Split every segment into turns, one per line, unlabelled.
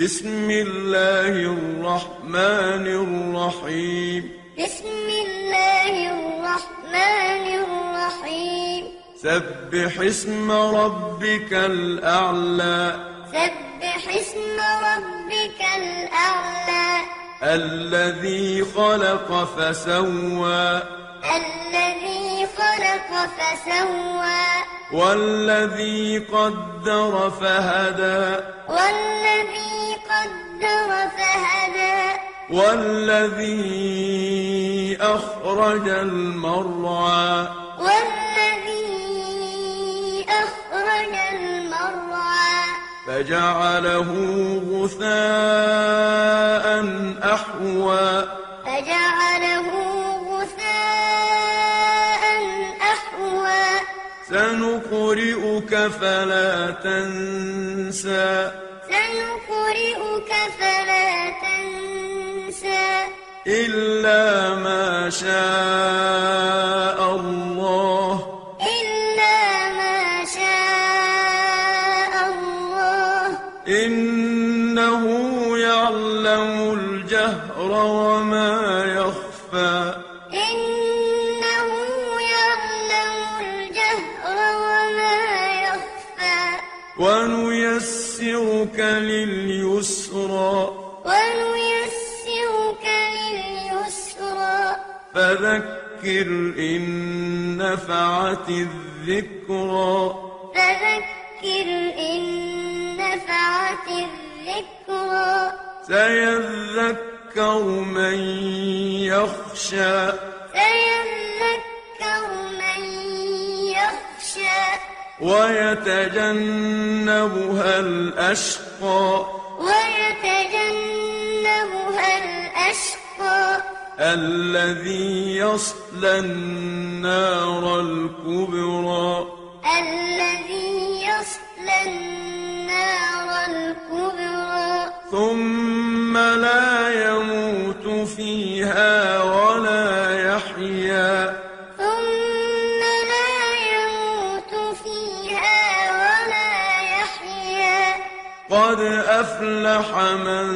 بسم الله الرحمن الرحيم
بسم الله الرحمن الرحيم
سبح اسم ربك الأعلى
سبح اسم ربك الأعلى
الذي خلق فسوى
الذي خلق فسوى
والذي قدر فهدى
والذي قدر فهدى والذي أخرج المرعى والذي أخرج المرعى
فجعله غثاء أحوى
فجعله غثاء أحوى
سنقرئك فلا تنسى
سنقرئك فلا تنسى
إلا ما شاء الله
إلا ما شاء الله
إنه يعلم الجهر وما يخفى
إنه يعلم الجهر وما يخفى
ونيسرك لليسرى
ونيسرك لليسرى
فذكر إن نفعت الذكرى
فذكر إن نفعت الذكرى
سيذكر من يخشى
سيذكر من يخشى
ويتجنبها الأشقى
ويتجنبها الأشقى
الذي يصلى النار الكبرى
الذي يصلى النار الكبرى
ثم لا يموت فيها ولا يحيا
ثم لا يموت فيها ولا يحيا
قد أفلح من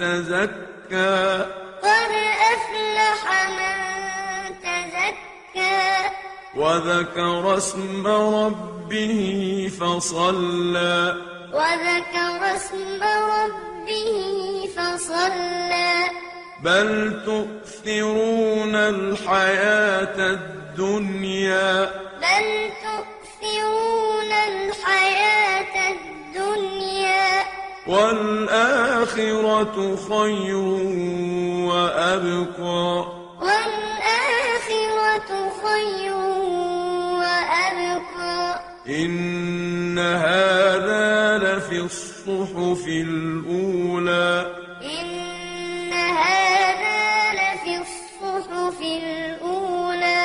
تزكى
قد أفلح من تزكى
وذكر اسم ربه فصلى
وذكر اسم ربه فصلى
بل تؤثرون الحياة الدنيا
بل تؤثرون الحياة الدنيا
والآخرة خير وأبقى
والآخرة خير وأبقى
إن هذا لفي الصحف الأولى
إن هذا لفي الصحف الأولى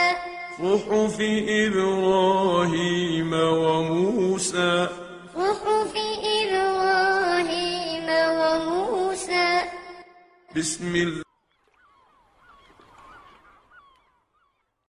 صحف إبراهيم وموسى
صحف إبراهيم وموسى
بسم الله